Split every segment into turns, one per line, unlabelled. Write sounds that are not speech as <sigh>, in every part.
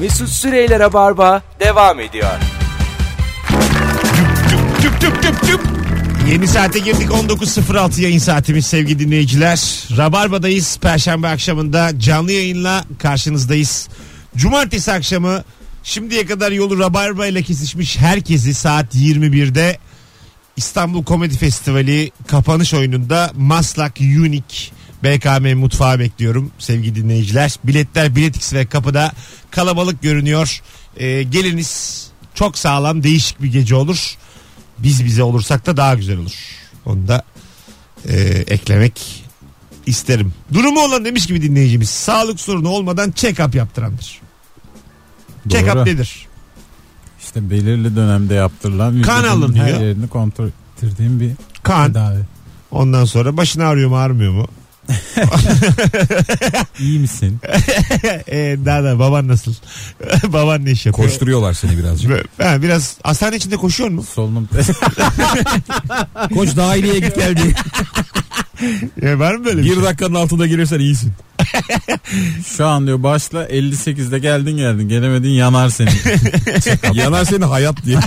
Mesut Süreyler'e barba devam ediyor.
Tüp tüp tüp tüp. Yeni saate girdik 19.06 yayın saatimiz sevgili dinleyiciler. Rabarba'dayız. Perşembe akşamında canlı yayınla karşınızdayız. Cumartesi akşamı şimdiye kadar yolu Rabarba ile kesişmiş herkesi saat 21'de İstanbul Komedi Festivali kapanış oyununda Maslak Unique BKM mutfağı bekliyorum sevgili dinleyiciler. Biletler biletix ve kapıda kalabalık görünüyor. Ee, geliniz çok sağlam değişik bir gece olur. Biz bize olursak da daha güzel olur. Onu da e, eklemek isterim. Durumu olan demiş gibi dinleyicimiz sağlık sorunu olmadan check-up yaptırandır. Check-up
Doğru.
nedir?
İşte belirli dönemde yaptırılan vücudun
alınıyor.
her yerini kontrol ettirdiğim bir
Kan.
tedavi.
Ondan sonra başın ağrıyor mu ağrımıyor mu? <laughs>
İyi misin?
Ee, daha da baban nasıl? <laughs> baban ne iş yapıyor?
Koşturuyorlar seni birazcık.
Bö- Ha, biraz hastane içinde koşuyor mu? <laughs>
Solunum
Koş daireye git gel diye.
Ya var mı böyle bir
Bir
şey?
dakikanın altında
<laughs>
gelirsen iyisin.
şu an diyor başla 58'de geldin geldin gelemedin
<laughs>
yanar seni.
Yanar seni hayat diye.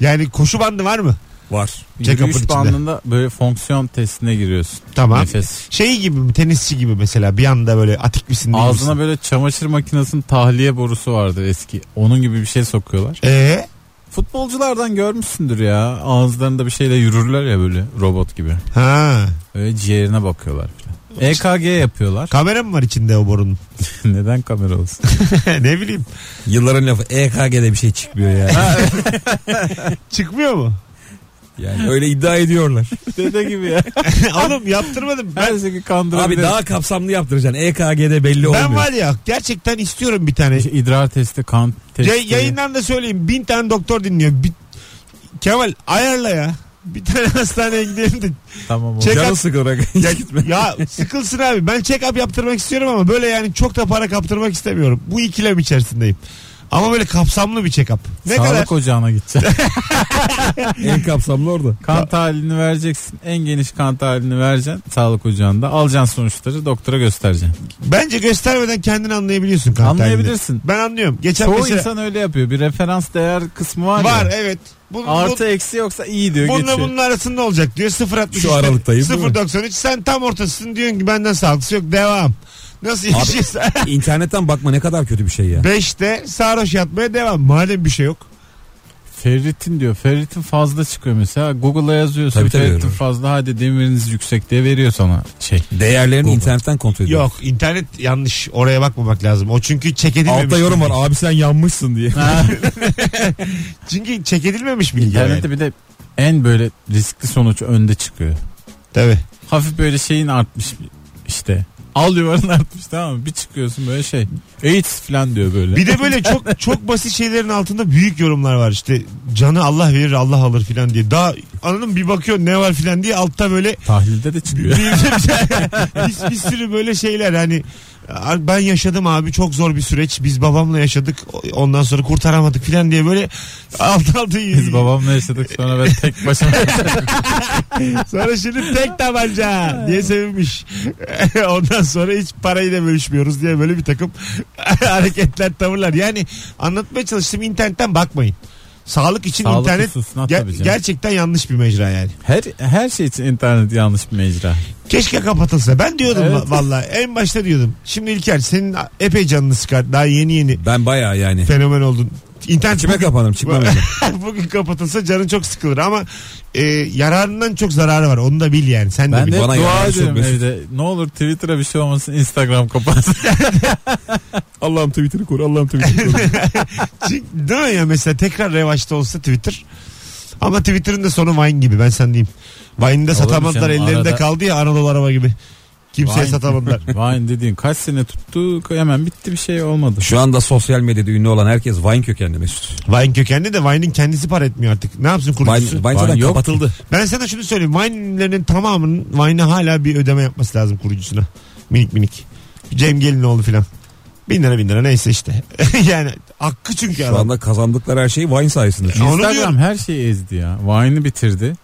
Yani koşu bandı <laughs> var mı?
Var.
Check-up'ın
Yürüyüş
içinde.
bandında böyle fonksiyon testine giriyorsun.
Tamam.
Nefes.
Şey gibi mi? Tenisçi gibi mesela bir anda böyle atik misin? değil
Ağzına
misin?
böyle çamaşır makinesinin tahliye borusu vardı eski. Onun gibi bir şey sokuyorlar.
Ee,
Futbolculardan görmüşsündür ya. Ağızlarında bir şeyle yürürler ya böyle robot gibi.
ha.
Öyle ciğerine bakıyorlar falan. EKG yapıyorlar.
Kamera mı var içinde o borunun?
<laughs>
<laughs>
Neden kamera olsun?
ne bileyim.
Yılların lafı EKG'de bir şey çıkmıyor ya.
Çıkmıyor mu?
yani <laughs> öyle iddia ediyorlar.
<laughs> Dede gibi <laughs> ya.
Oğlum yaptırmadım. Ben,
Her şeyi kandırabilir.
Abi daha kapsamlı yaptıracaksın. EKG'de belli olmuyor.
ben var ya gerçekten istiyorum bir tane.
idrar testi, kan testi.
Ya- yayından da söyleyeyim. Bin tane doktor dinliyor. Bir- Kemal ayarla ya. Bir tane <laughs> hastaneye gidelim de
Tamam. o.
Çek-
Canı sıkılır.
Ya,
Gitme.
ya sıkılsın abi. Ben check-up yaptırmak istiyorum ama böyle yani çok da para kaptırmak istemiyorum. Bu ikilem içerisindeyim. Ama böyle kapsamlı bir check-up. Ne
Sağlık
kadar?
ocağına gideceksin.
<laughs>
<laughs>
en kapsamlı orada.
kan tahlilini vereceksin. En geniş kan tahlilini vereceksin. Sağlık ocağında. Alacaksın sonuçları doktora göstereceksin.
Bence göstermeden kendini anlayabiliyorsun kan tahlilini.
Anlayabilirsin.
Ben anlıyorum. Geçen
Çoğu
mesela
insan öyle yapıyor. Bir referans değer kısmı var,
şey. var
ya.
evet. Bu,
Artı eksi yoksa iyi diyor
bu, bununla
geçiyor.
bunun arasında olacak diyor. 0.63
Şu aralıktayım, değil mi?
0.93 sen tam ortasısın diyorsun ki benden sağlıklısı yok devam. Nasıl yaşıyorsun? <laughs>
İnternetten bakma ne kadar kötü bir şey ya.
5'te sarhoş yatmaya devam. Madem bir şey yok.
Ferritin diyor. Ferritin fazla çıkıyor mesela. Google'a yazıyorsun.
Tabii, tabii,
ferritin
veriyor.
fazla hadi demiriniz yüksek diye veriyor sana şey.
Değerlerini
Google.
internetten kontrol ediyor.
Yok internet yanlış. Oraya bakmamak lazım. O çünkü check edilmemiş. şey.
Altta yorum var abi sen yanmışsın diye.
Çünkü check edilmemiş bilgi. yani.
İnternette bir de en böyle riskli sonuç önde çıkıyor.
Tabii.
Hafif böyle şeyin artmış işte. Al yuvarın artmış tamam mı? Bir çıkıyorsun böyle şey. AIDS falan diyor böyle.
Bir de böyle çok çok basit şeylerin altında büyük yorumlar var işte canı Allah verir Allah alır filan diye. Daha anladın mı? bir bakıyor ne var filan diye altta böyle
Tahlilde de çıkıyor.
bir, bir sürü böyle şeyler hani ben yaşadım abi çok zor bir süreç biz babamla yaşadık ondan sonra kurtaramadık filan diye böyle alt alta
Biz babamla yaşadık sonra ben tek başıma.
Sonra şimdi tek tabanca diye sevinmiş. <laughs> Ondan sonra hiç parayı da bölüşmüyoruz diye böyle bir takım <laughs> hareketler, tavırlar. Yani anlatmaya çalıştım internetten bakmayın. Sağlık için
Sağlık
internet
hususuna
ge-
tabii canım.
gerçekten yanlış bir mecra yani.
her, her şey için internet yanlış bir mecra.
Keşke kapatılsa. Ben diyordum
Evet.
va- valla en başta diyordum. Şimdi İlker senin epey canını sıkar. Daha yeni yeni
Ben baya yani.
fenomen oldun. İnternet
İçime kapanırım çıkmam
Bu-
evden.
<laughs> bugün kapatılsa canın çok sıkılır ama e, yararından çok zararı var. Onu da bil yani. Sen de
Ben
bil.
de
bana
dua
yardım çok
ediyorum
Mesut.
evde. Ne olur Twitter'a bir şey olmasın Instagram kapansın.
<laughs> Allah'ım Twitter'ı koru Allah'ım Twitter'ı koru.
Çünkü Değil mi ya mesela tekrar revaçta olsa Twitter. Ama Twitter'ın da sonu Vine gibi ben sen diyeyim. Vine'de
Olur
satamadılar
canım,
ellerinde
arada-
kaldı ya Anadolu araba gibi. Kimseye
Vine.
<laughs>
satamadılar.
Vine dediğin kaç sene tuttu hemen bitti bir şey olmadı.
Şu anda sosyal medyada ünlü olan herkes Vine kökenli Mesut.
Vine kökenli de Vine'in kendisi para etmiyor artık. Ne yapsın
Vine,
kurucusu?
Vine zaten
Vine yok.
kapatıldı.
Ben sana şunu söyleyeyim. Vine ünlülerinin tamamının Vine'a hala bir ödeme yapması lazım kurucusuna. Minik minik. Cem Gelinoğlu filan. Bin lira bin lira neyse işte. <laughs> yani hakkı çünkü
Şu
adam.
anda kazandıkları her şey Vine sayesinde.
Ya onu
Instagram
diyorum.
her şeyi ezdi ya. Vine'ı bitirdi.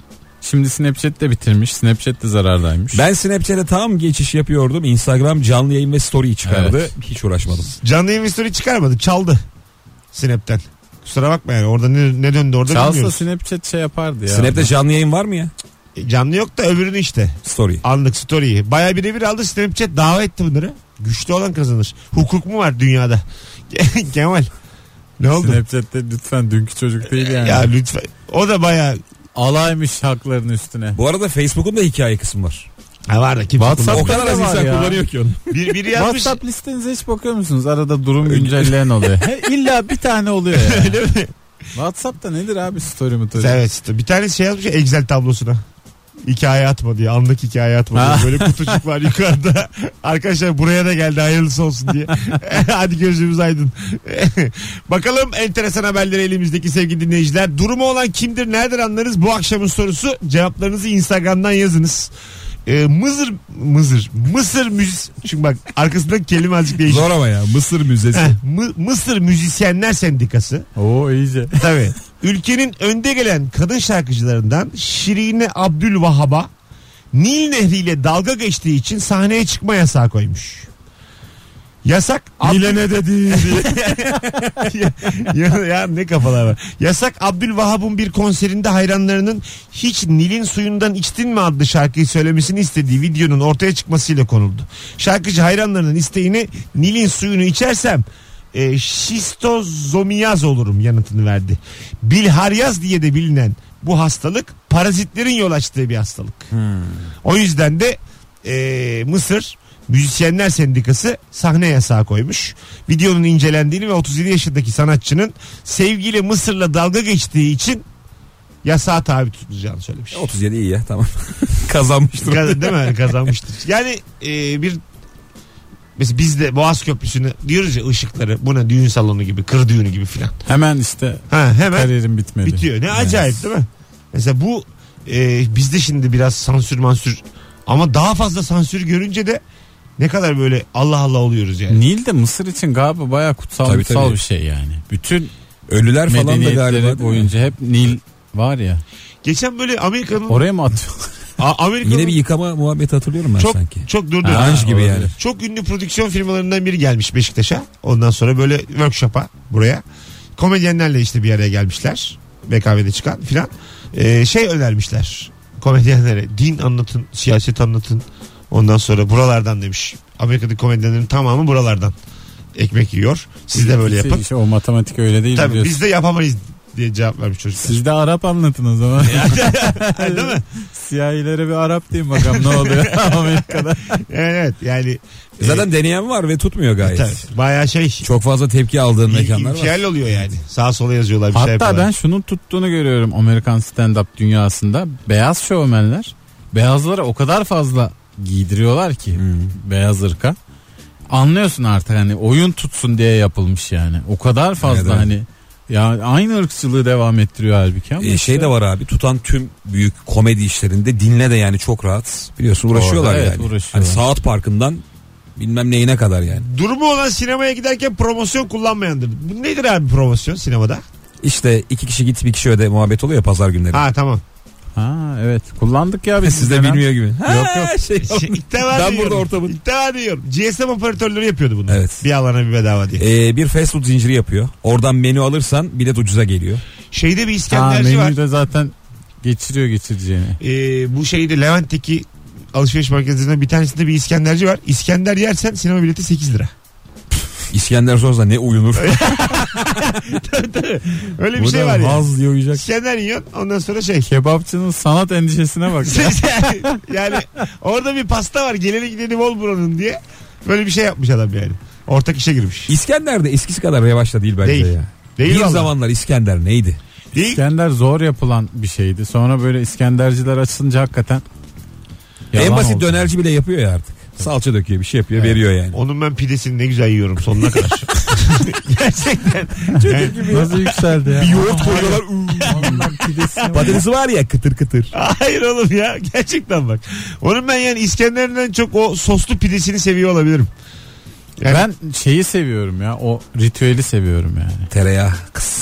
Şimdi Snapchat de bitirmiş. Snapchat de zarardaymış.
Ben Snapchat'e tam geçiş yapıyordum. Instagram canlı yayın ve story çıkardı.
Evet.
Hiç uğraşmadım.
Canlı yayın story çıkarmadı. Çaldı. Snap'ten. Kusura bakma yani orada ne, ne döndü orada
Çalsa
bilmiyoruz.
Snapchat şey yapardı ya.
Snap'te canlı yayın var mı ya?
E, Canlı yok da öbürünü işte.
Story.
Anlık story'yi. Baya birebir aldı Snapchat dava etti bunları. Güçlü olan kazanır. Hukuk mu var dünyada? <laughs> Kemal. Ne oldu?
Snapchat'te lütfen dünkü çocuk değil yani.
Ya lütfen. O da baya
Alaymış hakların üstüne.
Bu arada Facebook'un da hikaye kısmı var.
ha, var da kimse
WhatsApp-
o
kullanmıyor.
kadar az
var
insan
ya.
kullanıyor ki onu.
Bir,
<laughs>
biri yazmış.
WhatsApp listenize hiç bakıyor musunuz? Arada durum güncelleyen
<laughs>
oluyor. He, İlla bir tane oluyor ya. Öyle mi? WhatsApp'ta nedir abi story mu story?
Evet işte bir tane şey yazmış ya, Excel tablosuna. Hikaye atma diye anlık hikaye atma diye.
Ha.
Böyle kutucuk var yukarıda. Arkadaşlar buraya da geldi hayırlısı olsun diye. Hadi gözümüz aydın. <laughs> Bakalım enteresan haberleri elimizdeki sevgili dinleyiciler. Durumu olan kimdir nereden anlarız bu akşamın sorusu. Cevaplarınızı Instagram'dan yazınız. Ee, Mızır, Mızır, Mısır müzis... Çünkü bak arkasındaki kelime azıcık değişik.
Zor ama ya. Mısır Müzesi.
Heh, Mı- Mısır Müzisyenler Sendikası.
Oo iyice.
<laughs>
Tabii. Ülkenin önde gelen kadın şarkıcılarından Şirine Abdülvahhab'a Nil Nehri ile dalga geçtiği için sahneye çıkma yasağı koymuş. Yasak
Nile ne dedi?
ya, ya ne kafalar var. Yasak Abdülvahhab'ın bir konserinde hayranlarının hiç Nil'in suyundan içtin mi adlı şarkıyı söylemesini istediği videonun ortaya çıkmasıyla konuldu. Şarkıcı hayranlarının isteğini Nil'in suyunu içersem e, şistozomiyaz olurum yanıtını verdi. Bilharyaz diye de bilinen bu hastalık parazitlerin yol açtığı bir hastalık.
Hmm.
O yüzden de e, Mısır Müzisyenler Sendikası sahne yasağı koymuş. Videonun incelendiğini ve 37 yaşındaki sanatçının sevgili Mısır'la dalga geçtiği için yasağa tabi tutulacağını söylemiş.
37 iyi ya <laughs> tamam. Kazanmıştır.
Kaz- Değil mi? Kazanmıştır. Yani e, bir mesela biz de Boğaz Köprüsü'nü diyoruz ya ışıkları buna düğün salonu gibi kır düğünü gibi filan.
Hemen işte
Ha, hemen
kariyerim bitmedi.
bitiyor. Ne
Evet.
acayip değil mi? Mesela bu e, bizde şimdi biraz sansür mansür ama daha fazla sansür görünce de ne kadar böyle Allah Allah oluyoruz yani.
Nil de Mısır için galiba bayağı kutsal
Tabii,
kutsal
tabii.
bir şey yani. Bütün
Ölüler falan da galiba.
medeniyetleri
değil mi?
boyunca hep Nil var ya.
Geçen böyle Amerika'nın
Oraya mı
<laughs>
atıyorlar?
A- Amerika'nın
Yine bir yıkama muhabbeti hatırlıyorum ben
çok
sanki.
çok durdu.
Ha,
Anj gibi
olabilir.
yani.
Çok ünlü prodüksiyon firmalarından biri gelmiş Beşiktaş'a. Ondan sonra böyle workshop'a buraya. Komedyenlerle işte bir araya gelmişler. BKM'de çıkan filan. Ee, şey önermişler komedyenlere. Din anlatın, siyaset anlatın. Ondan sonra buralardan demiş. Amerika'daki komedyenlerin tamamı buralardan ekmek yiyor. Siz de böyle yapın.
İşte Şey, o matematik öyle değil
Tabii
biliyorsun.
biz de yapamayız diye cevap vermiş çocuklar.
Siz de Arap anlatın o
<laughs>
zaman.
Değil
<laughs>
mi?
Siyahilere bir Arap diyeyim bakalım ne
<laughs>
oluyor Amerika'da.
Evet, evet yani.
E, Zaten deneyen var ve tutmuyor gayet.
Tabii, bayağı şey.
Çok fazla tepki aldığın mekanlar var.
İlkel oluyor yani. Sağa sola yazıyorlar bir şey
Hatta
yapıyorlar.
ben şunun tuttuğunu görüyorum Amerikan stand-up dünyasında. Beyaz şovmenler beyazlara o kadar fazla giydiriyorlar ki
Hmm.
beyaz ırka. Anlıyorsun artık hani oyun tutsun diye yapılmış yani. O kadar fazla
Evet, evet.
hani ya aynı ırkçılığı devam ettiriyor halbuki ama
E, şey de var abi tutan tüm büyük komedi işlerinde dinle de yani çok rahat. Biliyorsun uğraşıyorlar
Doğru, evet,
yani.
uğraşıyorlar.
Hani saat parkından bilmem neyine kadar yani.
Durumu olan sinemaya giderken promosyon kullanmayandır. Bu nedir abi promosyon sinemada?
İşte iki kişi git bir kişi öde muhabbet oluyor ya pazar günleri.
Ha tamam.
Ha evet kullandık ya biz.
<laughs> Siz de
dönem.
bilmiyor gibi. Ha,
Yok, yok.
<laughs>
Şey,
Şey, İlk defa
Ben burada
duyuyorum.
ortamın-
İlk defa duyuyorum. GSM operatörleri yapıyordu bunu.
Evet.
Bir alana bir bedava diye.
E, bir fast food zinciri yapıyor. Oradan menü alırsan bilet ucuza geliyor.
Şeyde bir
Ha
İskenderci şey var.
menüyü de zaten geçiriyor geçireceğini.
Ee, bu şeyde Levent'teki alışveriş merkezlerinden bir tanesinde bir İskenderci var. İskender yersen sinema bileti 8 lira.
İskender sonrasında
<laughs>
ne uyunur.
Öyle bir
Burada
şey var ya.
vaz diye uyuyacak.
İskender yiyorsun ondan sonra
<laughs>
şey.
Kebapçının sanat
<laughs>
endişesine bak. ya.
yani orada bir pasta var geleni gideni bol buranın diye. Böyle bir şey yapmış adam yani. Ortak işe girmiş.
İskender de eskisi kadar revaçta değil bence
Değil.
ya.
Değil
bir
vallahi.
zamanlar İskender neydi?
Değil.
İskender zor yapılan bir şeydi. Sonra böyle İskenderciler açılınca hakikaten yalan
en basit
oldu.
dönerci bile yapıyor ya artık. Salça döküyor bir şey yapıyor
Evet.
veriyor yani.
Onun ben pidesini ne güzel yiyorum sonuna kadar. Gerçekten. Yani
Nasıl yükseldi ya?
yoğurt koyuyorlar.
<laughs>
Patatesi var ya kıtır kıtır.
hayır oğlum ya. Gerçekten bak. Onun ben yani İskender'den çok o soslu pidesini seviyor olabilirim. Yani-
Ben şeyi seviyorum ya. O ritüeli seviyorum yani.
Tereyağı.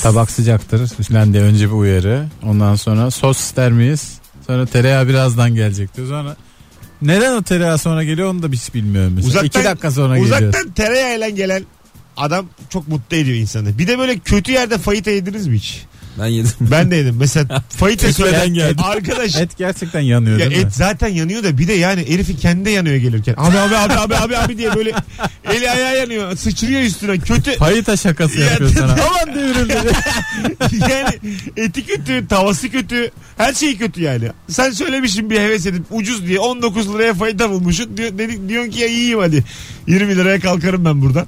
Tabak sıcaktır. Üstlen de önce bir uyarı. Ondan sonra sos ister miyiz? Sonra tereyağı birazdan gelecek diyor. Sonra neden o tereyağı sonra geliyor onu da hiç bilmiyorum mesela.
Uzaktan-
İki dakika sonra geliyor.
Uzaktan tereyağıyla gelen adam çok mutlu ediyor insanı. Bir de böyle kötü yerde fayita yediniz mi hiç?
Ben yedim.
Ben de yedim. Mesela fayita
Tekmeden
söyleyen
geldi.
arkadaş
Et gerçekten yanıyor
ya
değil mi?
et zaten yanıyor da bir de yani Elif'in kendi de yanıyor gelirken. Abi abi abi abi abi abi diye böyle eli ayağı yanıyor. Sıçrıyor üstüne. Kötü
Payita şakası
Ya
yapıyor
dedi-
<laughs> sana. Aman devrildi.
<laughs> yani eti kötü, tavası kötü, her şey kötü yani. Sen söylemişsin bir heves edip ucuz diye 19 liraya fayda bulmuşsun. Diyor, dedik, diyorsun ki ya yiyeyim hadi. 20 liraya kalkarım ben buradan.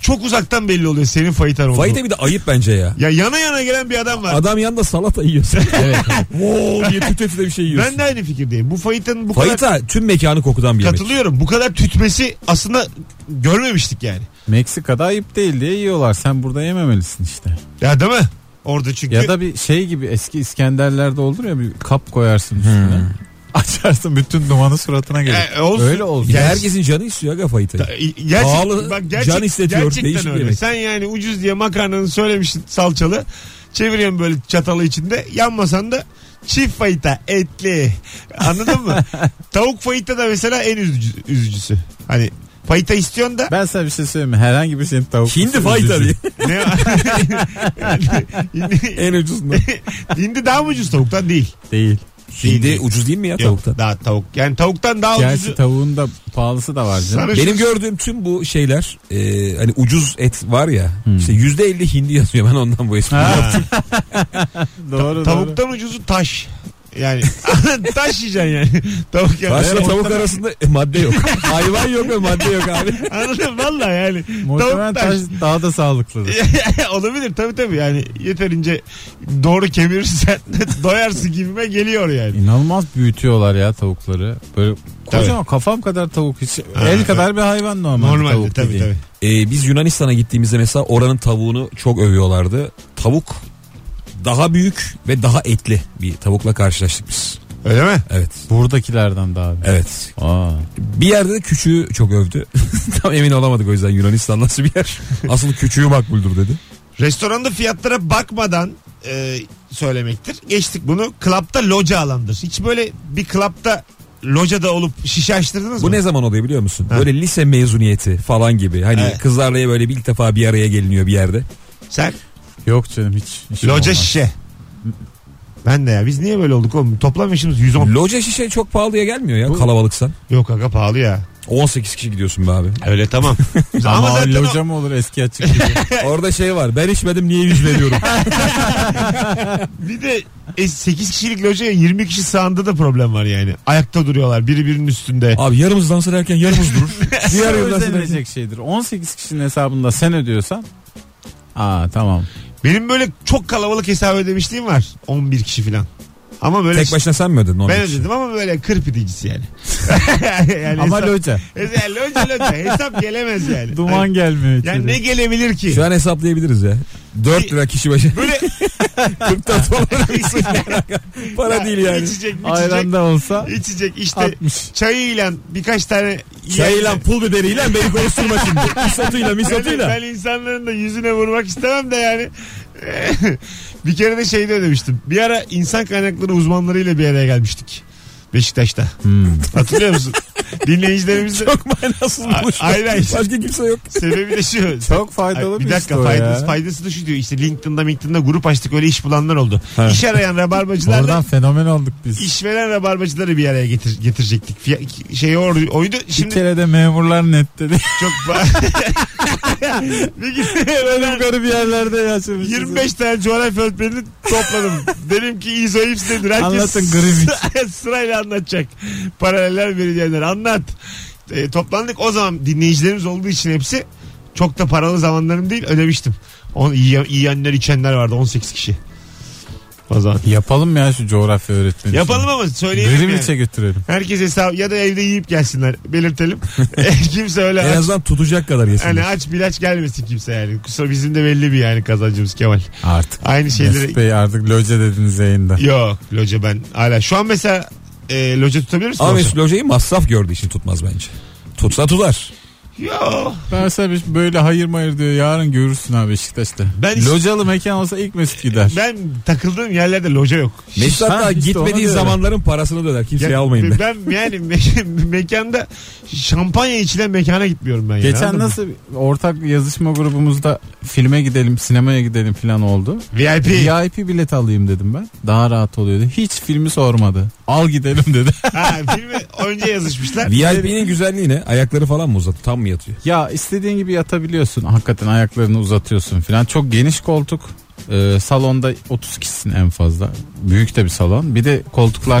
Çok uzaktan belli oluyor senin fayitan olduğu.
Fayda bir de ayıp bence ya.
Ya yana yana gelen bir adam var.
Adam yanında salata yiyorsun.
evet.
<laughs> Wow diye tüteti de bir şey yiyorsun.
ben de aynı fikirdeyim. Bu fayitanın bu kadar
Fayita tüm mekanı kokudan bir yemek.
katılıyorum. Bu kadar tütmesi aslında görmemiştik yani.
Meksika'da ayıp değil diye yiyorlar. Sen burada yememelisin işte.
Ya değil mi? Orada çünkü
Ya da bir şey gibi eski İskenderler'de olur ya bir kap koyarsın üstüne. <laughs> Açarsın bütün dumanı suratına gelir.
Hmm. E, olsun.
Öyle olsun.
Ya
Gerçi-
herkesin canı istiyor aga fayitayı.
Gerçek,
Pahalı,
bak gerçek,
can istetiyor, değişik
Gerçekten
bir
öyle.
yemek.
Sen yani ucuz diye makarnanı söylemişsin salçalı. Çeviriyorsun böyle çatalı içinde. Yanmasan da çift fayita etli. Anladın mı?
<laughs>
Tavuk fayita da mesela en üzücü- üzücüsü. Hani fayita istiyorsun da
Ben sana bir şey söyleyeyim mi? Herhangi bir senin tavuk.
Hindi fayita diye.
ne <laughs> hindi,
<laughs> en ucuzundan.
hindi daha mı ucuz tavuktan değil.
Değil.
Hindi ucuz değil mi ya
Yok,
tavukta?
daha tavuk. Yani tavuktan daha
Gerçi
ucuz.
tavuğun da pahalısı da var canım.
Sana
Benim
şu-
gördüğüm tüm bu şeyler e, hani ucuz et var ya işte yüzde elli hindi yazıyor ben ondan bu espriyi yaptım.
Doğru doğru.
Tavuktan ucuzu taş. Yani <laughs> taş yiyeceksin yani. Tavuk yani.
Başka tavuk arasında e, madde <laughs> yok. Hayvan yok ve madde yok abi.
Anladın mı? Valla yani.
Muhtemelen
Tavuk taş.
taş daha da sağlıklıdır.
<laughs> Olabilir tabii tabii yani yeterince doğru kemirirsen <laughs> doyarsın gibime geliyor yani.
İnanılmaz büyütüyorlar ya tavukları. Böyle kocaman kafam kadar tavuk hiç el kadar bir hayvan normal.
Normalde
tavuk
tabii
dediğin.
tabii.
E, biz Yunanistan'a gittiğimizde mesela oranın tavuğunu çok övüyorlardı. Tavuk daha büyük ve daha etli bir tavukla karşılaştık biz.
Öyle mi?
Evet.
Buradakilerden daha. büyük.
Evet.
Aa.
Bir yerde de küçüğü çok övdü. <laughs> Tam emin olamadık o yüzden Yunanistan nasıl bir yer. Asıl küçüğü makbuldür dedi.
Restoranda fiyatlara bakmadan e, söylemektir. Geçtik bunu. Klapta loca alandır. Hiç böyle bir klapta locada olup şişe açtırdınız
Bu
mı?
ne zaman oluyor biliyor musun?
Ha.
Böyle lise mezuniyeti falan gibi. Hani
Evet.
kızlarla ya böyle bir ilk defa bir araya geliniyor bir yerde.
Sen?
Yok canım hiç. işim
Loca
olmaz.
şişe. Ben de ya biz niye böyle olduk oğlum? Toplam yaşımız 110.
Loca şişe çok pahalıya gelmiyor ya
Bu-
kalabalıksan.
Yok aga pahalı ya.
18 kişi gidiyorsun be <laughs> abi.
Öyle tamam. <laughs>
Ama,
Ama zaten o-
loca mı olur eski açık gibi.
Orada şey var ben içmedim niye yüz <laughs> veriyorum.
Bir de 8 kişilik locaya 20 kişi sağında da problem var yani. Ayakta duruyorlar biri birinin üstünde.
abi yarımız dans ederken yarımız <laughs> durur. Diğer
Diğer
yarımız dans ederken.
ödenilecek şeydir. 18 kişinin hesabında sen ödüyorsan. Aa tamam.
Benim böyle çok kalabalık hesap ödemişliğim var. 11 kişi falan. Ama böyle
Tek başına sen mi ödedin?
ben
18 kişi?
ödedim ama böyle kırpidicisi
<laughs>
yani. yani
Ama
hesap,
loca.
hesap- loca loca hesap gelemez yani. Hani
Duman gelmiyor içeri.
yani ne gelebilir ki?
Şu an hesaplayabiliriz ya. 4 lira kişi <laughs> başı.
Böyle
44 falan.
<laughs>
Para değil yani.
İçecek, içecek,
Ayran da olsa
içecek işte
60.
çayıyla birkaç tane
Çayıyla pul biberiyle beni konuşturma şimdi. <laughs> Misatıyla
Yani
misatıyla.
ben insanların da yüzüne vurmak istemem de yani. <laughs> bir kere de şeyde ödemiştim. Bir ara insan kaynakları uzmanlarıyla bir araya gelmiştik. Beşiktaş'ta.
Hmm.
Hatırlıyor
<laughs>
musun? Dinleyicilerimiz de
Çok manasız
A-
buluşma.
aynen.
Başka kimse yok.
sebebi de şu.
Çok
Ay,
faydalı
bir dakika
işte o
faydası,
ya.
faydası da şu diyor işte LinkedIn'da LinkedIn'da grup açtık öyle iş bulanlar oldu.
Ha.
İş arayan rabarbacılarla <laughs>
Oradan fenomen olduk biz.
işveren rabarbacıları bir araya getir, getirecektik. Fiy- şey or- oydu.
Bir
Şimdi
kere de memurlar
<laughs>
net dedi.
çok
<laughs>
ba- bir kere öyle-
Yukarı bir yerlerde yaşamışız.
25 tane coğrafya öğretmenini topladım. Dedim ki ISO IPS nedir? Herkes
Anlatın
<laughs>
Greenwich.
sıra- sırayla anlatacak. Paraleller meridyenler anlat. E, toplandık o zaman dinleyicilerimiz olduğu için hepsi çok da paralı zamanlarım değil ödemiştim. On, yiyen- yiyenler içenler vardı 18 kişi. O zaman.
Yapalım ya şu coğrafya
<laughs>
öğretmeni.
Yapalım ama söyleyelim yani.
Greenwich'e götürelim.
Herkes hesap ya da evde yiyip gelsinler belirtelim. <laughs> E, Kimse öyle
En
aç,
azından tutacak kadar yesin.
hani aç bilaç gelmesin kimse yani. Kusura bizim de belli bir yani kazancımız Kemal.
Artık.
Aynı şeyleri
Mesut Bey artık loca dediniz yayında.
Yok loca ben hala şu an mesela e, loca tutabilir misin?
Ama
Olsa?
Mesut Loca'yı masraf gördüğü için tutmaz bence. Tutsa tutar.
Yo.
Verse bir- böyle hayır mayır diyor. Yarın görürsün abi Beşiktaş'ta.
Ben hiç- E,
Localı mekan olsa ilk Mesut gider.
Ben takıldığım yerlerde loca yok.
Mesut
Ha,
hatta
işte ona
gitmediği
diyorum.
zamanların parasını döner. Kimseye
şey
Ya,
almayın de.
Ben yani me- <laughs> mekanda şampanya içilen mekana gitmiyorum ben. yani,
Geçen
anladın mı?
nasıl ortak yazışma grubumuzda filme gidelim, sinemaya gidelim falan oldu.
VIP.
VIP bilet alayım dedim ben. Daha rahat oluyordu. Hiç filmi sormadı. Al gidelim
<laughs>
dedi.
Ha, filmi önce yazışmışlar.
VIP'nin güzelliği ne? Ayakları falan mı uzadı? Tam mı yatıyor?
ya istediğin gibi yatabiliyorsun. Hakikaten ayaklarını uzatıyorsun falan. Çok geniş koltuk. Ee, salonda 30 kişisin en fazla. Büyük de bir salon. Bir de koltuklar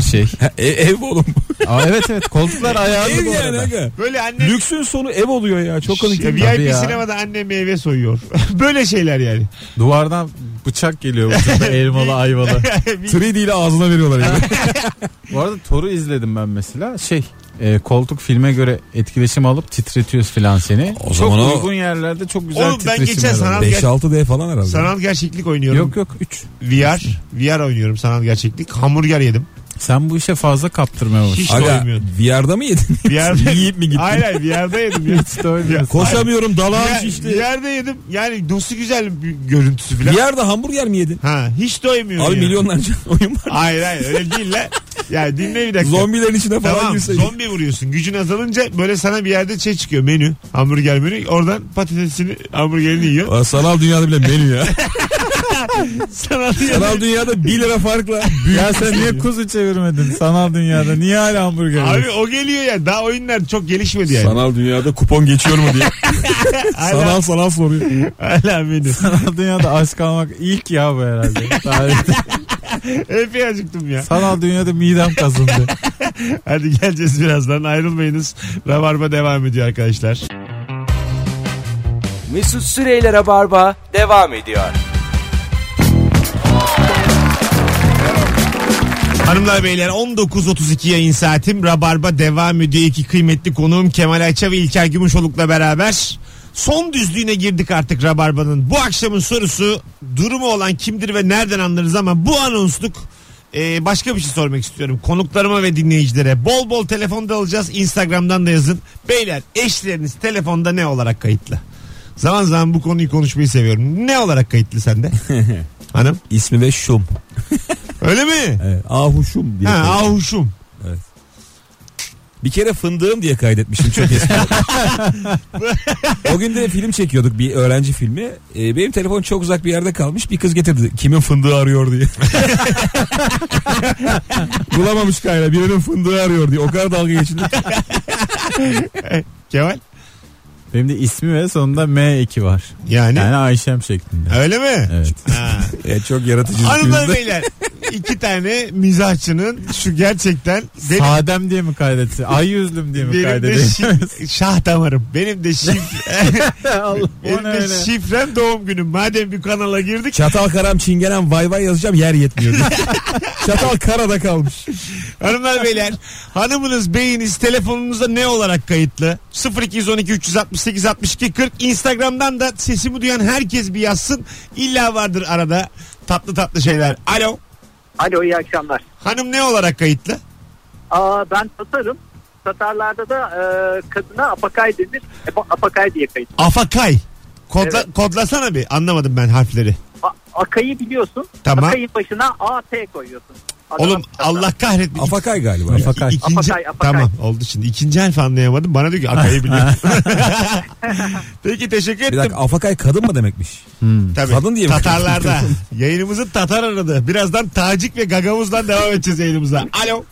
<laughs>
şey.
Ha, e- ev oğlum. <laughs>
Aa, evet evet koltuklar ayağını
ev
bu
yani.
arada.
aga.
Böyle anne
Lüksün sonu ev oluyor ya. Çok
Ş-
komik. değil mi?
Tabii
VIP
ya.
sinemada anne meyve soyuyor. <laughs> Böyle şeyler yani.
Duvardan bıçak
<laughs>
geliyor vücuda, elmalı ayvalı.
3D ile ağzına veriyorlar yani.
Bu arada Thor'u izledim ben mesela. Şey e, koltuk filme göre etkileşim alıp titretiyoruz filan seni.
O
çok
zaman o-
uygun yerlerde çok güzel
Oğlum ben
titreşim
geçen
herhalde.
sanal-
5-6D falan herhalde.
sanal gerçeklik oynuyorum.
Yok yok 3.
VR. VR oynuyorum sanal gerçeklik. Hamburger
<laughs>
yedim.
Sen bu işe fazla kaptırmaya başladın.
Hiç
Aga
doymuyorsun.
VR'da
<laughs>
mı yedin?
VR'da
<laughs> Yiyip mi gittin?
Hayır hayır VR'da yedim ya.
<laughs> Hiç de oynuyorsun.
Koşamıyorum dalağım
VR,
şişti.
VR'da yedim. Yani dostu güzel bir görüntüsü falan.
VR'da hamburger mi yedin?
Ha hiç doymuyor.
Abi
ya.
milyonlarca <laughs> oyun var.
Hayır hayır öyle değil la. Ya dinle bir dakika.
Zombilerin içine falan
Tamam
girseydin.
zombi vuruyorsun. Gücün azalınca böyle sana bir yerde şey çıkıyor menü. Hamburger menü. Oradan patatesini hamburgerini yiyor.
Aa, Sanal dünyada bile menü
<laughs>
ya.
Sana diyor.
Sanal dünyada 1 lira farkla.
ya sen niye kuzu çevirmedin sanal dünyada? Niye hala hamburger
şey Abi
yiyorsun?
o geliyor ya. Daha oyunlar çok gelişmedi yani.
Sanal dünyada kupon geçiyor mu diye.
hala,
<laughs> sanal sanal soruyor.
hala menü.
Sanal dünyada aşk almak ilk ya bu
<laughs>
herhalde. Tarihte.
Epey acıktım ya.
sanal dünyada midem kazındı.
Hadi geleceğiz birazdan. Ayrılmayınız. Rabarba devam ediyor arkadaşlar.
Mesut Süreyler'e barba devam ediyor.
Hanımlar beyler 19.32 yayın saatim Rabarba devam ediyor. İki kıymetli konuğum Kemal Ayça ve İlker Gümüşoluk'la beraber son düzlüğüne girdik artık Rabarba'nın. Bu akşamın sorusu durumu olan kimdir ve nereden anlarız ama bu anonsluk e, başka bir şey sormak istiyorum. Konuklarıma ve dinleyicilere bol bol telefonda alacağız. Instagram'dan da yazın. Beyler eşleriniz telefonda ne olarak kayıtlı? Zaman zaman bu konuyu konuşmayı seviyorum. Ne olarak kayıtlı sende? Hanım.
İsmi ve şum.
Öyle mi?
Evet, ahuşum diye.
Ha,
koydum.
ahuşum.
Bir kere fındığım diye kaydetmiştim çok eski. <laughs> o gün de film çekiyorduk bir öğrenci filmi. Ee, benim telefon çok uzak bir yerde kalmış. Bir kız getirdi. Kimin fındığı arıyor diye. <laughs> Bulamamış kayna. Birinin fındığı arıyor diye. O kadar dalga geçildi.
Kemal.
Benim de ismi ve sonunda M eki var.
Yani,
Yani Ayşem şeklinde.
öyle mi?
Evet. <laughs>
Ha.
Ee, çok yaratıcı.
Hanımlar beyler iki tane mizahçının şu gerçekten benim,
Sadem diye mi kaydetti? Ay yüzlüm diye mi
benim de
kaydetti?
şif- şah damarım. Benim de
<laughs>
şif,
Allah
benim de şifrem doğum günüm. Madem bir kanala girdik
Çatal karam çingenen vay vay yazacağım yer yetmiyor. <laughs> diye. Çatal karada kalmış.
Hanımlar beyler hanımınız beyiniz telefonunuzda ne olarak kayıtlı? 0212 368 62 40 Instagram'dan da sesimi duyan herkes bir yazsın. İlla vardır arada tatlı tatlı şeyler. Alo
Alo iyi akşamlar.
hanım ne olarak kayıtlı?
Aa, ben satarım. Satarlarda da e, kadına apakay denir. E, bu apakay diye kayıt.
Afakay. Kodla,
Evet.
Kodlasana bir anlamadım ben harfleri.
A- akayı biliyorsun.
Tamam.
Akayın başına AT koyuyorsun. Adam
Oğlum
satar.
Allah kahretmesin.
Afakay galiba.
Afakay.
İkinci,
Apakay, apakay.
Tamam oldu şimdi. İkinci harfi anlayamadım. Bana diyor ki
<laughs>
akayı biliyorum. <laughs> Peki teşekkür
Bir
ettim.
dakika Afakay kadın mı demekmiş?
Tabii.
kadın diye mi?
Tatarlarda. Yayınımızı Tatar aradı. Birazdan Tacik ve Gagamuz'dan devam edeceğiz yayınımıza. Alo.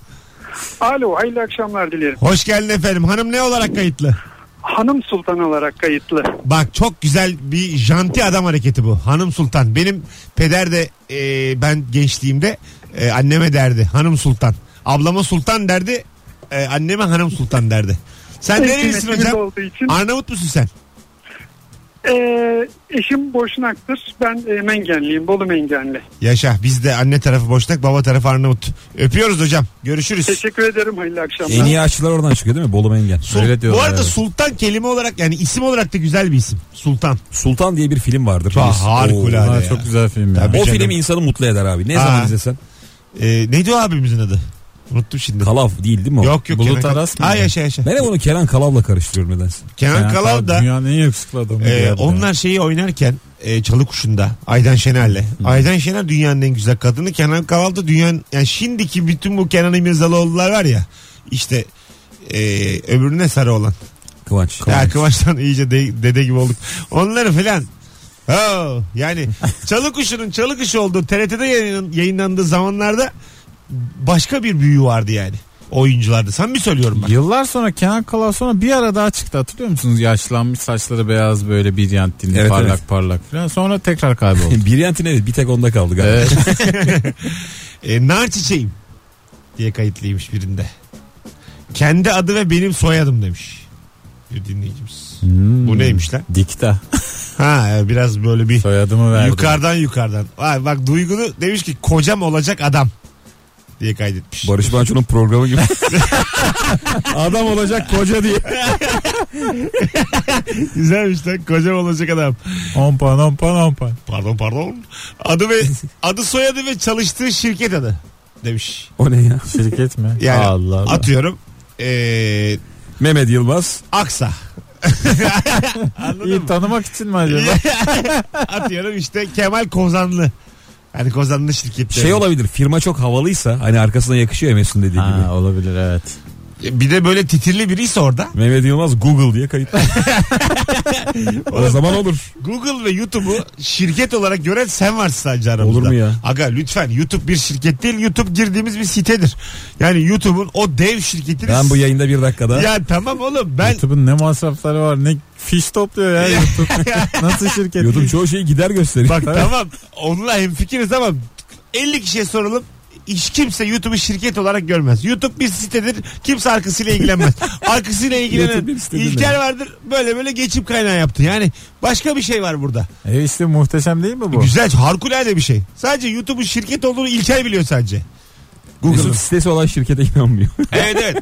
Alo hayırlı akşamlar dilerim.
Hoş geldin efendim. Hanım ne olarak kayıtlı?
Hanım Sultan olarak kayıtlı.
Bak çok güzel bir janti adam hareketi bu. Hanım Sultan. Benim peder de e, ben gençliğimde e, anneme derdi Hanım Sultan. Ablama Sultan derdi. e, anneme Hanım Sultan derdi. Sen nerelisin
Kıymetimiz
hocam?
Olduğu için.
Arnavut musun sen?
Ee, eşim Boşnak'tır. Ben e, Mengenliyim. Bolu Mengenli.
Yaşa biz de anne tarafı boşnak baba tarafı Arnavut. Öpüyoruz hocam. Görüşürüz.
Teşekkür ederim. Hayırlı akşamlar.
En iyi aşçılar oradan çıkıyor değil mi? Bolu Mengen.
Sul-
Öyle diyorlar,
bu arada
evet.
Sultan kelime olarak yani isim olarak da güzel bir isim. Sultan.
Sultan diye bir film vardır.
Çok
Biz-
harikulade.
Oo.
Ha,
ya.
çok güzel film ya.
Tabii.
O
Canım.
film insanı mutlu eder abi. Ne
Ha.
zaman izlesen.
Ee, neydi o E, abimizin adı? Unuttum şimdi.
Kalav değil değil mi o?
Yok yok.
Bulut
Kenan Kal-
Aras mı?
Ha yaşa yaşa.
Ben hep onu Kenan Kalav'la karıştırıyorum nedense.
Kenan Kalav da
Dünyanın en yakışıklı adamı.
Ee,
ya.
onlar şeyi oynarken e, Çalı Kuşu'nda Aydan Şener'le. Aydan Şener dünyanın en güzel kadını. Kenan Kaval da dünyanın yani şimdiki bütün bu Kenan İmirzalıoğlu'lar var ya işte e, öbürüne sarı olan.
Kıvanç.
Ya Kıvanç'tan iyice de- dede gibi olduk. Onları filan Oo, yani Çalı Kuşu'nun Çalı Kuşu olduğu TRT'de yayın- yayınlandığı zamanlarda başka bir büyü vardı yani oyuncularda. Sen mi söylüyorum bak.
Yıllar sonra Kenan Kalav sonra bir ara daha çıktı hatırlıyor musunuz? Yaşlanmış saçları beyaz böyle bir yan dilli
Evet,
parlak
evet.
parlak falan. Sonra
<laughs>
tekrar kayboldu.
Biryant'in evet bir tek onda kaldı galiba.
Evet.
E, nar çiçeğim diye kayıtlıymış birinde. Kendi adı ve benim soyadım demiş. Bir dinleyicimiz.
Hmm.
Bu neymiş lan?
Dikta.
Ha e, biraz böyle bir
Soyadımı verdi.
yukarıdan yukarıdan. Ay, bak duygunu demiş ki kocam olacak adam diye kaydetmiş.
Barış Manço'nun programı gibi. Adam olacak koca diye.
Güzelmiş lan kocam olacak adam.
10 puan 10 puan 10 puan.
Pardon pardon. Adı
<laughs>
ve adı soyadı ve çalıştığı şirket adı demiş.
O ne ya?
Şirket mi?
<laughs> Yani
Allah Allah.
atıyorum. e,
Mehmet Yılmaz.
Aksa.
İyi tanımak için
<laughs>
mi acaba?
Atıyorum işte Kemal Kozanlı. Hani Kozanlı şirketleri.
Şey olabilir firma çok havalıysa hani arkasına yakışıyor ya Mesut'un dediği gibi.
ha, olabilir evet.
Bir de böyle titirli biriyse orada.
Mehmet Yılmaz Google diye kayıt. o zaman olur.
Google ve YouTube'u şirket olarak gören sen varsın sadece aramızda.
Olur mu ya?
Aga lütfen YouTube bir şirket değil. YouTube girdiğimiz bir sitedir. Yani YouTube'un o dev şirketini...
Ben bu yayında bir dakikada.
Ya tamam oğlum
<laughs>
ben...
YouTube'un ne masrafları var ne fiş
<laughs>
topluyor ya YouTube. Nasıl şirket?
YouTube çoğu şeyi gider gösteriyor.
Bak <laughs> tamam onunla hemfikiriz ama 50 kişiye soralım. Hiç kimse YouTube'u şirket olarak görmez. YouTube bir sitedir. Kimse arkasıyla
<laughs>
ilgilenmez. Arkasıyla ilgilenen
YouTube bir sitedir.
İlker vardır. Böyle böyle geçim kaynağı yaptı. Yani başka bir şey var burada.
E işte muhteşem değil mi bu?
Güzel, harikulade bir şey. Sadece YouTube'un şirket olduğunu İlker biliyor sadece. Google'ın.
Mesut sitesi olan şirkete <laughs> inanmıyor.
<laughs> evet evet.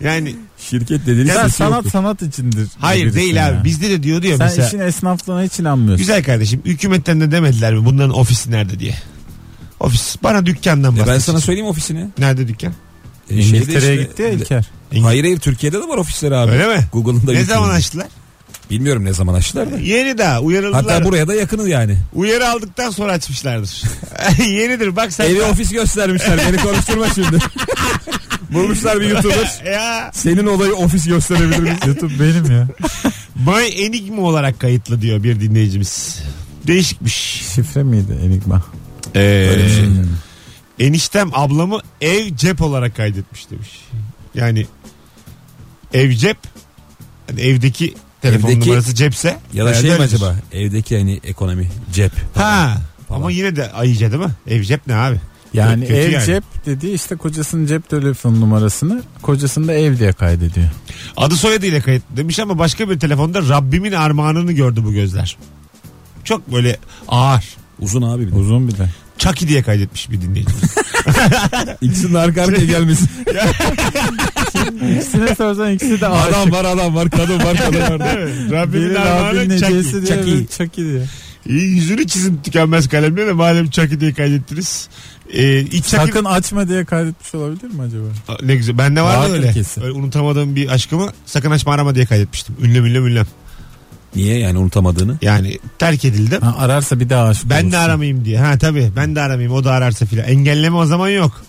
Yani
Şirket dediğiniz
Sen
sitesi
sanat
şey yoktur.
sanat içindir.
hayır
Birisin
değil
ya.
abi. Bizde de diyor diyor
Sen
mesela.
işin esnaflığına hiç inanmıyorsun.
Güzel kardeşim hükümetten de demediler mi bunların ofisi nerede diye. Ofis bana dükkandan
E
bahset.
ben sana söyleyeyim ofisini.
Nerede dükkan?
E, şeyde
İngiltere'ye
işte-
gitti ya İlker.
Hayır hayır Türkiye'de de var ofisleri abi.
Öyle mi?
Google'ın da
ne
YouTube'un
zaman
da.
açtılar?
Bilmiyorum ne zaman açtılar da.
Yeni daha uyarıldılar.
Hatta buraya da yakını yani.
Uyarı aldıktan sonra
<laughs>
açmışlardır. Yenidir bak sen.
Evi ofis göstermişler. Beni konuşturma şimdi. Bulmuşlar bir YouTuber.
ya
Senin olayı ofis gösterebilir miyiz?
YouTube benim ya.
My Enigma olarak kayıtlı diyor bir dinleyicimiz. Değişikmiş.
Şifre miydi Enigma?
Öyle bir şey.
Hmm.
Eniştem ablamı ev cep olarak kaydetmiş demiş. Yani ev cep hani evdeki telefon
Evdeki-
numarası cepse
Ya da şey mi
herhalde
acaba? Evdeki hani ekonomi, cep.
Ha. Ama
Falan.
yine de ayıca değil mi? Ev cep ne abi?
Yani
Kötü
ev
yani.
cep dediği işte kocasının cep telefon numarasını kocasında ev diye kaydediyor.
Adı soyadıyla kayıtlı demiş ama başka bir telefonda Rabbimin armağanını gördü bu gözler. Çok böyle ağır.
Uzun abi bir de.
Uzun bir de.
Chucky diye kaydetmiş bir dinleyicimiz.
İkisinin arka
<laughs>
arkaya gelmesin.
İkisine sorsan ikisi de adam.
adam var adam var kadın var kadın
<laughs>
var.
Değil mi? Rabbimin
Biri Rabbi'nin
armağanı Chucky.
necesi diye
Chucky.
bir Chucky diye.
İyi, yüzünü çizim tükenmez kalemle de madem Chucky diye kaydettiniz. Ee, iç Chucky-
Sakın açma diye kaydetmiş olabilir mi acaba?
Aa, Ne güzel. Bende vardı
Vardır
öyle.
kesin.
öyle. Unutamadığım bir aşkımı sakın açma arama diye kaydetmiştim. Ünlem ünlem ünlem.
Niye yani unutamadığını?
Yani terk edildim.
Ha, ararsa bir daha aşık
Ben
olursun.
de aramayayım diye. Ha tabii ben de aramayayım o da ararsa filan. Engelleme o zaman yok.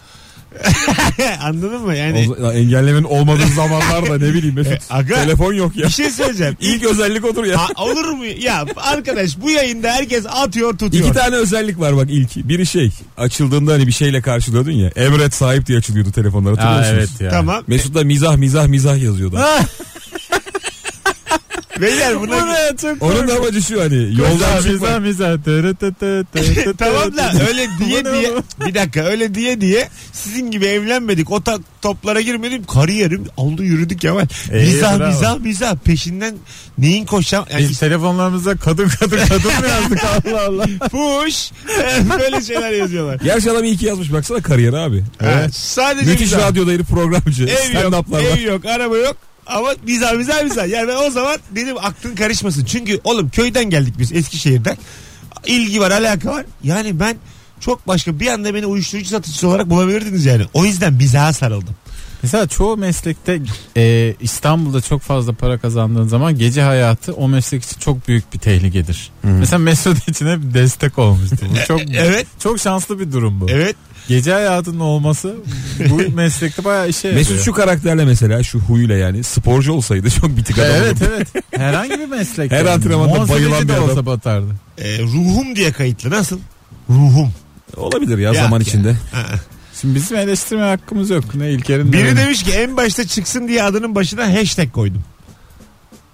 <laughs> Anladın mı? Yani
O- ya engellemenin olmadığı zamanlarda ne bileyim
E,
Mesut.
aga.
Telefon yok ya.
bir şey söyleyeceğim.
İlk özellik odur ya.
Ha, olur mu? Ya arkadaş bu yayında herkes atıyor tutuyor.
İki tane özellik var bak ilk. Biri şey açıldığında hani bir şeyle karşılıyordun ya. Emret sahip diye açılıyordu telefonlar hatırlıyor
Ha,
musunuz?
evet ya.
Tamam.
Mesut da mizah mizah mizah yazıyordu.
<laughs> Beyler buna...
çok
Onun da amacı şu hani
Yolda
yolda
mizah mizah. Tı tı tı tı tı tı.
tamam da öyle diye
Bu ne
diye
oğlum?
bir dakika öyle diye diye sizin gibi evlenmedik o ta- toplara girmedim kariyerim oldu yürüdük yavaş.
Ee,
mizah
bravo.
mizah mizah peşinden neyin koşacağım yani
Biz telefonlarımıza kadın kadın kadın mı
<laughs>
yazdık Allah Allah.
push <laughs> böyle şeyler yazıyorlar.
Gerçi adam iyi ki yazmış baksana kariyer abi.
Evet. Sadece
Müthiş
mizah.
radyoda herif programcı.
Ev yok,
Stand-up'lar var.
ev yok, araba yok. Ama mizah mizah mizah. Yani ben o zaman benim aklım karışmasın. Çünkü oğlum köyden geldik biz Eskişehir'den. İlgi var, alaka var. Yani ben çok başka bir anda beni uyuşturucu satıcısı olarak bulabilirdiniz yani. O yüzden bizaha sarıldım.
Mesela çoğu meslekte e, İstanbul'da çok fazla para kazandığın zaman gece hayatı o meslek için çok büyük bir tehlikedir. Mesela Mesut için hep destek olmuştu. Bu
<laughs>
çok
Evet.
çok şanslı bir durum bu.
Evet.
Gece hayatının olması
<laughs>
bu meslekte bayağı işe yarıyor.
Mesut şu karakterle mesela şu huyuyla yani sporcu olsaydı <laughs> çok bitik adam
Evet
olurdu.
evet. Herhangi bir meslekte.
Her antrenmanda
Monza
bayılan
Beşi de
bir adam.
olsa batardı.
Ee, ruhum diye kayıtlı nasıl? Ruhum.
Olabilir ya,
Ya,
zaman
ya.
içinde.
Şimdi bizim eleştirme hakkımız yok. Ne İlker'in
Biri
ne-
demiş ki en başta çıksın diye adının başına hashtag koydum.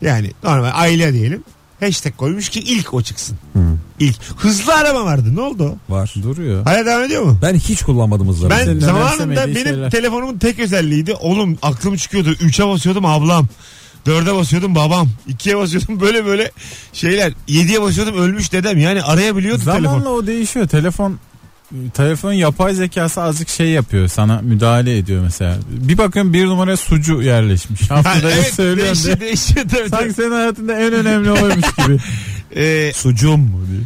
Yani normal aile diyelim. Hashtag koymuş ki ilk o çıksın. İlk. Hızlı arama vardı. Ne oldu? o?
Var.
duruyor.
Hala devam ediyor mu?
Ben hiç kullanmadım hızları.
Ben
Senin
zamanında
önemsemediği
benim
şeyler.
telefonumun tek özelliğiydi. Oğlum aklım çıkıyordu. 3'e basıyordum ablam. 4'e basıyordum babam. 2'ye basıyordum <laughs> böyle böyle şeyler. 7'ye basıyordum ölmüş dedem. Yani arayabiliyordu
Zamanla
telefon.
o değişiyor. Telefon telefon yapay zekası azıcık şey yapıyor. Sana müdahale ediyor mesela. Bir bakın bir numaraya sucu
<laughs>
yerleşmiş.
Ha,
Haftada evet,
evet
söylüyorum
değişti
diye.
değişti. Tabii,
Sanki
tabii.
senin hayatında en önemli oymuş gibi.
Ee,
Sucum mu diye.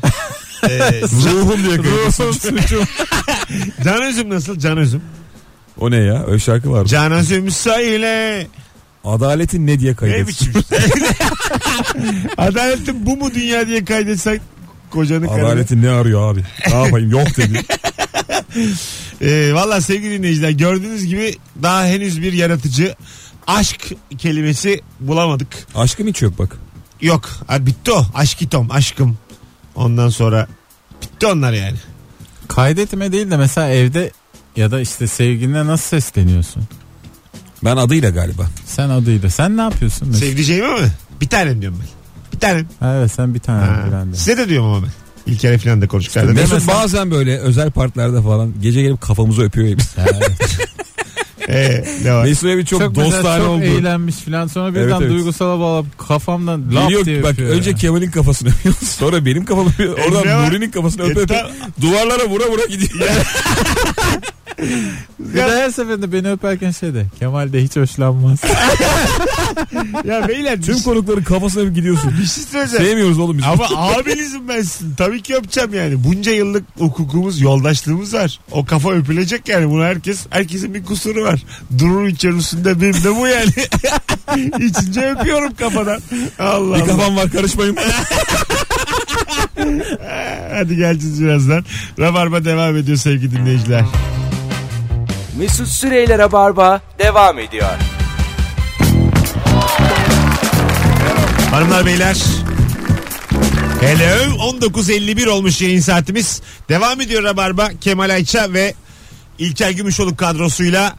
<laughs> e,
Ruhum <laughs> diye
Ruhum sucum.
can özüm nasıl? Can özüm.
O ne ya? Öyle şarkı var.
Can özüm söyle.
Adaletin ne diye
Ne
kaydetsin?
biçim şey? <laughs> Adaletin bu mu dünya diye kaydetsen kocanı karını.
Adaletin ne arıyor abi? Ne yapayım? Yok dedi.
Ee, Valla sevgili dinleyiciler gördüğünüz gibi daha henüz bir yaratıcı aşk kelimesi bulamadık.
Aşkın hiç yok bak.
Yok ha, bitti o aşkitom aşkım ondan sonra bitti onlar yani.
Kaydetme değil de mesela evde ya da işte sevgiline nasıl sesleniyorsun?
Ben adıyla galiba.
Sen adıyla. Sen ne yapıyorsun? mesela?
Sevdiceğime mi? Bir tanem diyorum ben. Bir tanem.
Ha, Evet sen bir tane
Ha.
bilen de.
Size de diyorum ama ben. İlk kere falan da konuştuk. herhalde.
Mesut
mesela-
bazen böyle özel partilerde falan gece gelip kafamızı öpüyor hepsi. <laughs>
Ee, ne var?
Mesut'a bir çok,
Çok,
dostane
mesela çok
oldu.
eğlenmiş filan sonra birden
Evet, evet.
duygusala bağlayıp kafamdan laf
Geliyor
diye
ki bak
öpüyor
önce
ya.
Kemal'in kafasını öpüyor sonra benim kafamı öpüyor.
E,
Oradan
ne var?
Nuri'nin kafasını öpe
E,
öpe
tam-
duvarlara vura vura gidiyor.
Bir de her seferinde beni öperken şey de Kemal de
<laughs>
hiç hoşlanmaz.
ya beyler bir,
<laughs> Tüm konukların kafasına bir gidiyorsun.
bir şey söyleyeceğim.
Sevmiyoruz oğlum biz.
Ama abinizim ben sizin. Tabii ki öpeceğim yani. Bunca yıllık hukukumuz, yoldaşlığımız var. O kafa öpülecek yani. Bunu herkes, herkesin bir kusuru var. Durur içerisinde benim de bu yani. <laughs> İçince öpüyorum kafadan. Allah
bir
Allah.
kafam var karışmayın.
Hadi geleceğiz birazdan. Rabarba devam ediyor sevgili dinleyiciler.
Mesut Süreyler'e barba devam ediyor.
Hanımlar beyler. Hello 19.51 olmuş yayın saatimiz. Devam ediyor Rabarba. Kemal Ayça ve İlker Gümüşoluk kadrosuyla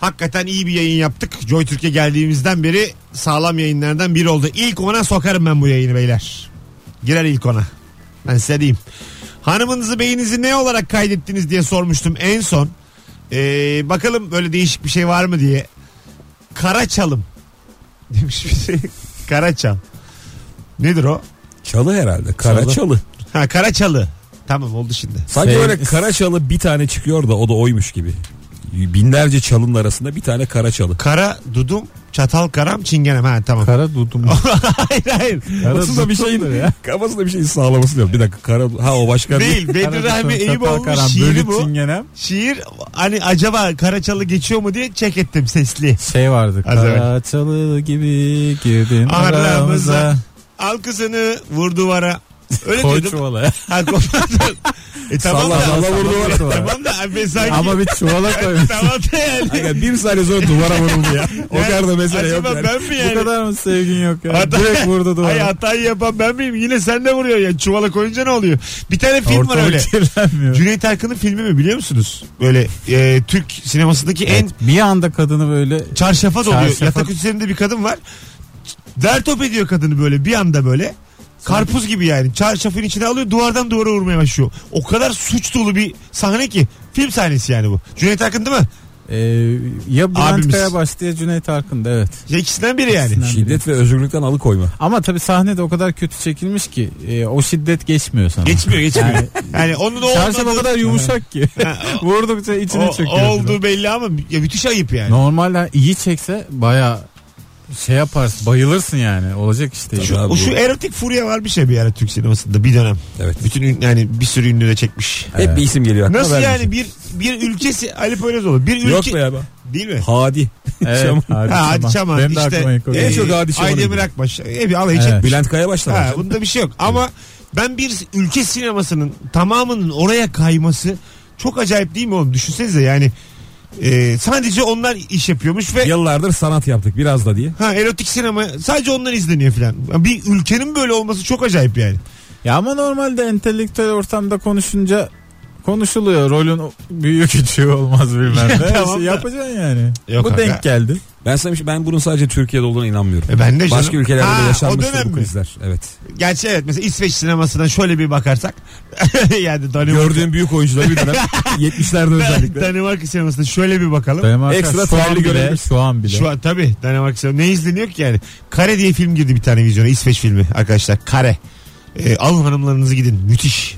hakikaten iyi bir yayın yaptık. Joy Türkiye geldiğimizden beri sağlam yayınlardan biri oldu. İlk ona sokarım ben bu yayını beyler. Girer ilk ona. Ben size diyeyim. Hanımınızı beyinizi ne olarak kaydettiniz diye sormuştum en son. Ee, bakalım böyle değişik bir şey var mı diye. Kara çalım <laughs> demiş bir şey. Kara çal. Nedir o?
Çalı herhalde. Kara
Çalı.
çalı.
Ha Karaçalı. Tamam oldu şimdi.
Sanki
Sev-
böyle kara çalı bir tane çıkıyor da o da oymuş gibi. Binlerce çalının arasında bir tane kara çalı.
Kara dudum, çatal karam, çingenem. Ha tamam.
Kara dudum.
<laughs> hayır hayır. <laughs>
Kafasında bir şey- şeyin kafasında bir şeyin sağlaması lazım. Bir dakika kara ha o başka
Değil. Bedri Rahmi Eyüboğlu'nun hani şiiri bu. Şiir hani acaba Karaçalı geçiyor mu diye çek ettim sesli.
Şey vardı.
Az evvel.
Karaçalı gibi girdin
Aramıza
aramıza.
al kızını vur duvara. Öyle
Koy
dedim.
çuvala.
Ha <laughs> koy- e tamam
Salla,
da.
salla, vur
Salla,
duvara.
çuvala.
Tamam da abi sanki.
Ama bir
<laughs>
çuvala koy.
tamam da
<laughs>
yani.
Aga, bir saniye sonra duvara vuruldu ya. O
Yani
kadar da mesele yok.
acaba
Yani.
ben mi
Bu
yani?
kadar mı sevgin yok ya?
Hata-
Direkt vurdu
Ay
duvara.
hatayı yapan ben miyim? Yine sen de vuruyor ya. Çuvala koyunca ne oluyor? Bir tane film
Ortalık
<laughs>
var öyle.
kirlenmiyor.
Cüneyt Arkın'ın filmi mi biliyor musunuz? Böyle e, Türk sinemasındaki en
Evet, bir anda kadını böyle
çarşafa doluyor.
Çarşafa-
Yatak üzerinde bir kadın var. Dert top ediyor kadını böyle bir anda böyle. Karpuz gibi yani. Çarşafın içine alıyor duvardan duvara vurmaya başlıyor. O kadar suç dolu bir sahne ki. Film sahnesi yani bu. Cüneyt Arkın değil mi?
e, ya Bülent
Abimiz.
Kayabaş diye Cüneyt Arkın'da evet.
Ya ikisinden biri yani.
İkisinden.
Şiddet ve özgürlükten alıkoyma.
Ama tabii sahnede o kadar kötü çekilmiş ki e, o şiddet geçmiyor sana.
Geçmiyor geçmiyor.
Yani-
<laughs> Yani onun o
Çarşaf o
olmadığı-
kadar
<laughs>
yumuşak ki. <laughs> Vurdukça içine
o,
çöküyor.
olduğu belli ama ya müthiş ayıp yani.
Normalde iyi çekse baya şey yaparsın bayılırsın yani olacak işte.
Şu,
Abi
o şu
bu-
erotik furya var bir şey bir ara Türk sinemasında bir dönem.
Evet.
Bütün ün- yani bir sürü ünlü de çekmiş.
Hep bir isim geliyor aklıma.
Nasıl
ben de
yani bir bir ülkesi Ali Poyrazoğlu bir ülke
Yok be abi.
değil mi?
<laughs> Hadi.
<laughs>
Evet, hadi,
Ha, hadi
Çaman.
Çaman
Benim de aklıma
işte
ilk o
e,
En
geldi.
çok Hadi Çaman'ı
Aydemir
biliyorum.
Akbaş e, bir alay çekmiş.
Bülent Kaya başlamış.
Ha, bunda bir şey yok ama ben bir ülke sinemasının tamamının oraya kayması çok acayip değil mi oğlum? Düşünsenize yani e, sadece onlar iş yapıyormuş ve
Yıllardır sanat yaptık biraz da diye.
ha, erotik sinema sadece onlar izleniyor filan. Bir ülkenin böyle olması çok acayip yani.
Ya ama normalde entelektüel ortamda konuşunca konuşuluyor. Rolün büyüğü küçüğü
<laughs>
olmaz bilmem ne.
Tamam da-
Yapacaksın yani.
Yok
Bu
abi.
denk geldi.
Ben sana bir şey- ben bunun sadece Türkiye'de olduğuna inanmıyorum.
E, ben de
Başka
canım.
ülkelerde
Ha,
de yaşanmış
o dönem
bu
mi?
krizler. Evet.
Gerçi evet mesela İsveç sinemasına şöyle bir bakarsak <laughs> yani Danimarka,
Gördüğüm büyük oyuncular
<laughs>
bir dönem 70'lerde özellikle.
Danimarka sinemasına şöyle bir bakalım.
Danimarka
Ekstra
şu an
tarihi
bile,
görebiliriz.
şu an bile.
Şu an tabii Danimarka sineması. Ne izleniyor ki yani? Kare diye film girdi bir tane vizyona. İsveç filmi arkadaşlar. Kare. Ee, alın hanımlarınızı gidin. Müthiş.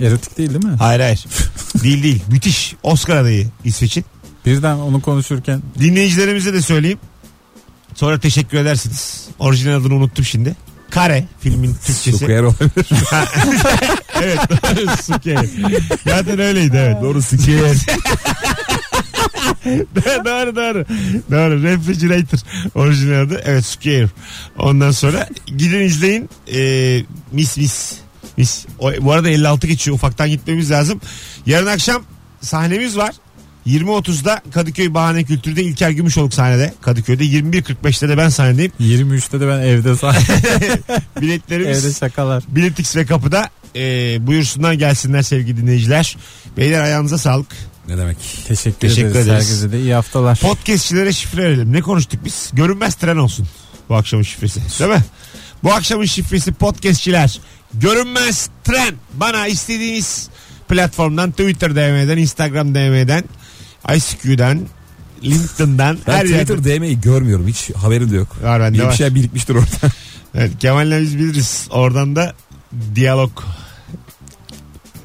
Erotik değil değil mi?
Hayır hayır. değil değil. Müthiş. Oscar adayı İsveç'in.
Birden onu konuşurken
Dinleyicilerimize de söyleyeyim. Sonra teşekkür edersiniz. Orijinal adını unuttum şimdi. Kare filmin Türkçesi.
Sokuyer olabilir.
evet. Suker. Zaten öyleydi evet.
Doğru sikiyer.
doğru doğru. Doğru. Refrigerator orijinal adı. Evet Scare. Ondan sonra gidin izleyin. Ee, mis mis. Mis. O, bu arada 56 geçiyor. Ufaktan gitmemiz lazım. Yarın akşam sahnemiz var. 20.30'da Kadıköy Bahane Kültür'de İlker Gümüşoluk sahnede. Kadıköy'de 21.45'te de ben sahnedeyim.
23'te de ben evde sah- evde
Biletlerimiz
şakalar.
Biletix ve kapıda. Ee, buyursunlar gelsinler sevgili dinleyiciler. Beyler ayağınıza sağlık.
ne demek?
Teşekkür,
Teşekkür
ederiz.
ederiz.
Herkese de iyi
<laughs>
haftalar.
Podcastçilere şifre verelim. Ne konuştuk biz? Görünmez tren olsun bu akşamın şifresi. Değil mi? Bu akşamın şifresi podcastçiler. Görünmez tren. Bana istediğiniz platformdan Twitter DM'den, Instagram DM'den, ICQ'den, LinkedIn'den
Ben
her yerden.
Twitter DM'yi görmüyorum hiç haberim de yok.
Var bende
Bir, bir
var.
şey birikmiştir orada.
Evet, Kemal'le biz biliriz. Oradan da diyalog.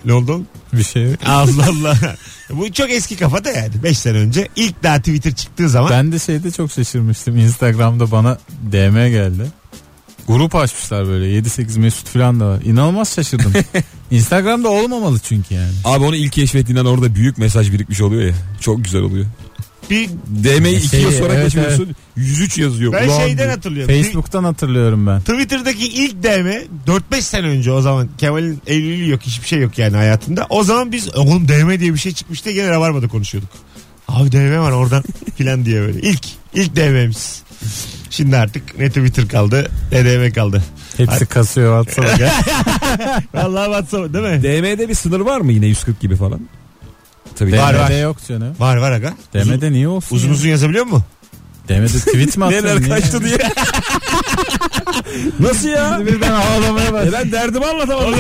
Ne oldu? oğlum?
Bir şey yok.
Allah Allah. Bu çok eski kafada yani. 5 sene önce. ilk daha Twitter çıktığı zaman.
Ben de şeyde çok şaşırmıştım. Instagram'da bana DM geldi. Grup açmışlar böyle 7-8 Mesut falan da var. İnanılmaz şaşırdım. Instagram'da olmamalı çünkü yani.
Abi onu ilk keşfettiğinden orada büyük mesaj birikmiş oluyor ya. Çok güzel oluyor.
bir,
DM'yi iki
Şey,
yıl sonra
evet,
geçmiyorsun. 103 yazıyor.
ben
Ulan
şeyden
diyor.
hatırlıyorum. Bir-
Facebook'tan hatırlıyorum ben.
Twitter'daki ilk DM 4-5 sene önce o zaman Kemal'in evliliği yok hiçbir şey yok yani hayatında. O zaman biz "E oğlum DM diye bir şey çıkmış diye gene Rabarba'da konuşuyorduk. Abi DM var oradan <laughs> filan diye böyle. İlk, ilk DM'miz. Şimdi artık ne Twitter kaldı ne DM kaldı.
Hepsi kasıyor WhatsApp'a. gel.
Vallahi WhatsApp değil mi?
DM'de bir sınır var mı yine 140 gibi falan? Tabii.
<laughs> Var,
DM'de
var.
yok canım.
var var aga. Uzun,
DM'de niye olsun?
uzun
ya?
uzun yazabiliyor mu?
DM'de tweet mi atıyorsun?
<laughs> Neler
niye?
kaçtı diye. Nasıl ya?
Birden <laughs> ağlamaya
E
başladı.
ben derdimi anlatamadım.
Oğlum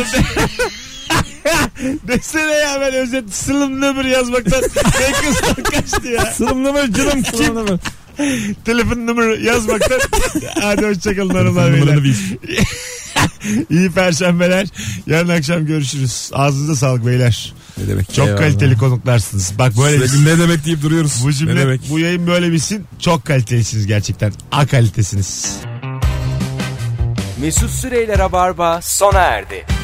Desene ya ben özet sılım nöbür
<laughs>
yazmaktan ne kızdan kaçtı ya.
Sırım numara canım kim?
Telefon numarı yazmaktan. Hadi hoşçakalın hanımlar beyler.
Numaranı bil.
İyi perşembeler. Yarın akşam görüşürüz. Ağzınıza sağlık beyler.
Ne demek?
Çok
Eyvallah.
kaliteli konuklarsınız. Bak böyle bir-
Sürekli ne demek deyip duruyoruz.
bu
Ne
cümle,
demek?
bu yayın böyle bitsin. Çok kalitelisiniz gerçekten. A kalitesiniz.
Mesut Süreyler'e barba sona erdi.